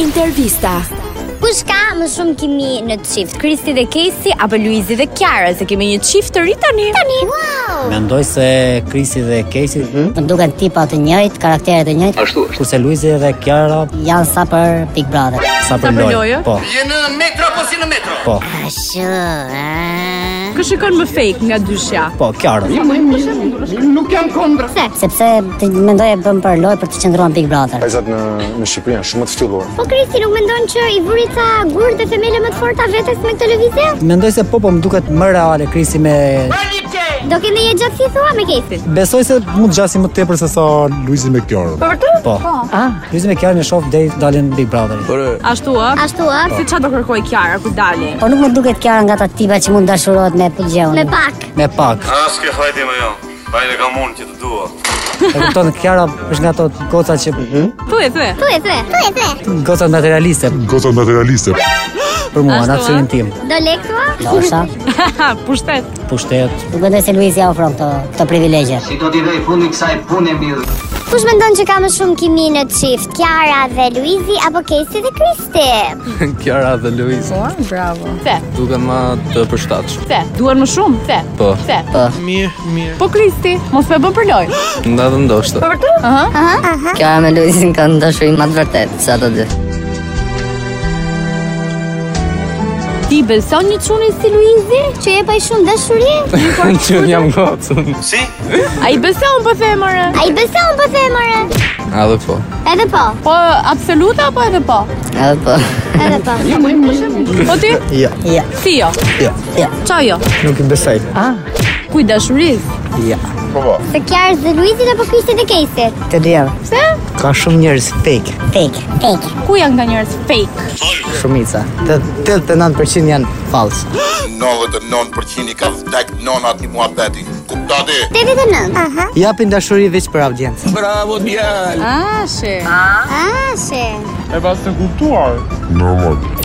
Intervista. Kush ka më shumë kimi në çift? Kristi dhe Kesi apo Luizi dhe Kiara, se kemi një çift të ri tani. Tani. Wow. Mendoj se Krisi dhe Casey, Më duken tipa të njëjtë, karakteret të njëjtë, kurse Luizi dhe Kiara janë sa për Big Brother. sa për lojë. lojë? Po, Jenë në metro apo si në metro? po, Ashtu, a... Kë shikon më fake nga dyshja? po, Kiara. Nuk jam kondra. Se, Sepse të mendoj e bëm për lojë për të qëndruan Big Brother. Vajzat në në Shqipëri janë shumë të ftyllur. po Kristi nuk mendon që i vuri ca gur dhe femele më të forta vetes me këtë lëvizje? Mendoj se po, po më duket më reale Krisi me Do keni një gjatë si thua me Kesin. Besoj se mund të gjasim më tepër se sa Luizi me Kiorën. po. Ah, Luizi me Kiara në shoh deri dalin Big Brother. Ashtu ë? Ashtu ë, Si çfarë do kërkoj Kiara kur dali? Po nuk më duket Kiara nga ta tipa që mund dashurohet me me Pugjeun. pak. Me pak. Aske hajde me jo. Hajde kam unë që të dua. E kupton Kiara është nga ato goca që Thuaj, thuaj. Thuaj, thuaj. Thuaj, thuaj. goca materialiste Goca materialiste. për mua Ashtu, në opsionin a? tim. Do lek thua? Ndoshta, Ha, pushtet. Pushtet. nuk mendoj se Luizi ja ofron këto këto privilegje. Si do t'i vej fundi kësaj pune mirë. Kush mendon që ka më shumë kimi në çift? Kiara dhe Luizi apo Kesi dhe Kristi? Kiara dhe Luis duke më të përshtatshëm. Se, duan më shumë. Se, Po, se. Po Kristi, mos më bën për lojë. nda dhe ndoshta. Kiara me Luizin kanë dashuri më të vërtetë se ato dy. Ti beson një çuni si Luizi? Që e pa i shumë dashuri? Që jam gocën. Si? Ai beson po themëre. A i beson po themëre? A dhe po. Edhe po, Po absolute apo edhe po? Edhe po. edhe po. Po ti? Jo. Ja, Si jo? Jo. ja. Qa jo? Nuk i besoj. Kuj dashuris? Jo. Po po. Se Kiarës dhe Luizit apo Kristi dhe Kesit? Të dyja. Pse? Ka shumë njerëz fake, Fake. Fake. Ku janë këta njerëz fake? shumica. 89% janë fals. 99% i ka vdek nonat i muhabeti. Kuptati? 89. Aha. Japin dashuri veç për audiencë. Bravo djalë. Ah, she. Ah, she. Normal.